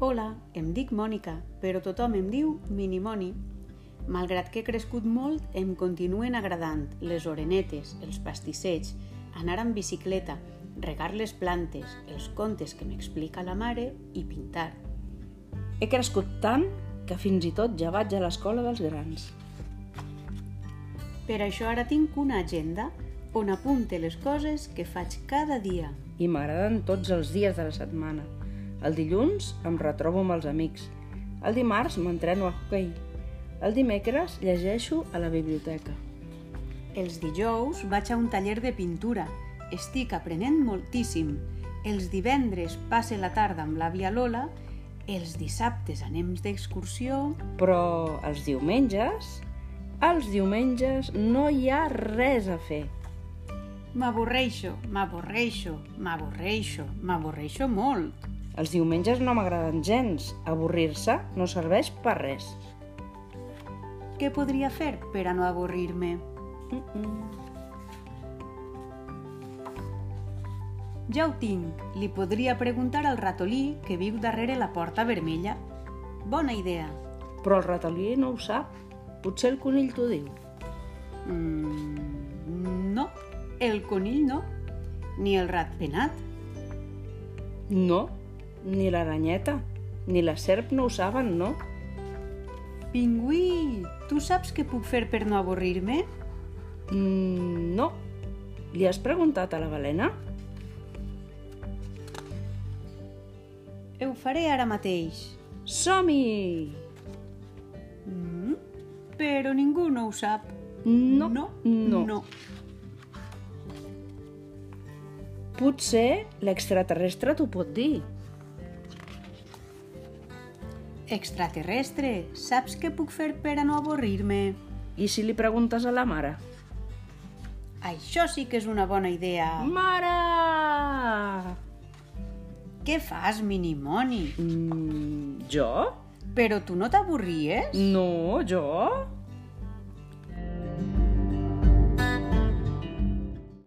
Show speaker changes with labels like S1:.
S1: Hola, em dic Mònica, però tothom em diu Minimoni. Malgrat que he crescut molt, em continuen agradant les orenetes, els pastissets, anar amb bicicleta, regar les plantes, els contes que m'explica la mare i pintar.
S2: He crescut tant que fins i tot ja vaig a l'escola dels grans.
S1: Per això ara tinc una agenda on apunte les coses que faig cada dia.
S2: I m'agraden tots els dies de la setmana. El dilluns em retrobo amb els amics. El dimarts m'entreno a hoquei. El dimecres llegeixo a la biblioteca.
S1: Els dijous vaig a un taller de pintura. Estic aprenent moltíssim. Els divendres passe la tarda amb l'àvia Lola. Els dissabtes anem d'excursió.
S2: Però els diumenges... Els diumenges no hi ha res a fer.
S1: M'avorreixo, m'avorreixo, m'avorreixo, m'avorreixo molt.
S2: Els diumenges no m'agraden gens. Avorrir-se no serveix per res.
S1: Què podria fer per a no avorrir-me?
S2: Mm -mm.
S1: Ja ho tinc. Li podria preguntar al ratolí que viu darrere la porta vermella. Bona idea.
S2: Però el ratolí no ho sap. Potser el conill t'ho diu.
S1: Mm, no, el conill no. Ni el ratpenat.
S2: No, ni l'aranyeta, ni la serp no ho saben, no.
S1: Pingüí, tu saps què puc fer per no avorrir-me?
S2: Mm, no. Li has preguntat a la balena?
S1: Ho faré ara mateix.
S2: Som-hi!
S1: Mm, però ningú no ho sap.
S2: No,
S1: no,
S2: no.
S1: no.
S2: Potser l'extraterrestre t'ho pot dir.
S1: Extraterrestre, saps què puc fer per a no avorrir-me?
S2: I si li preguntes a la mare?
S1: Això sí que és una bona idea.
S2: Mare!
S1: Què fas, Minimoni?
S2: Mm, jo?
S1: Però tu no t'avorries?
S2: No, jo?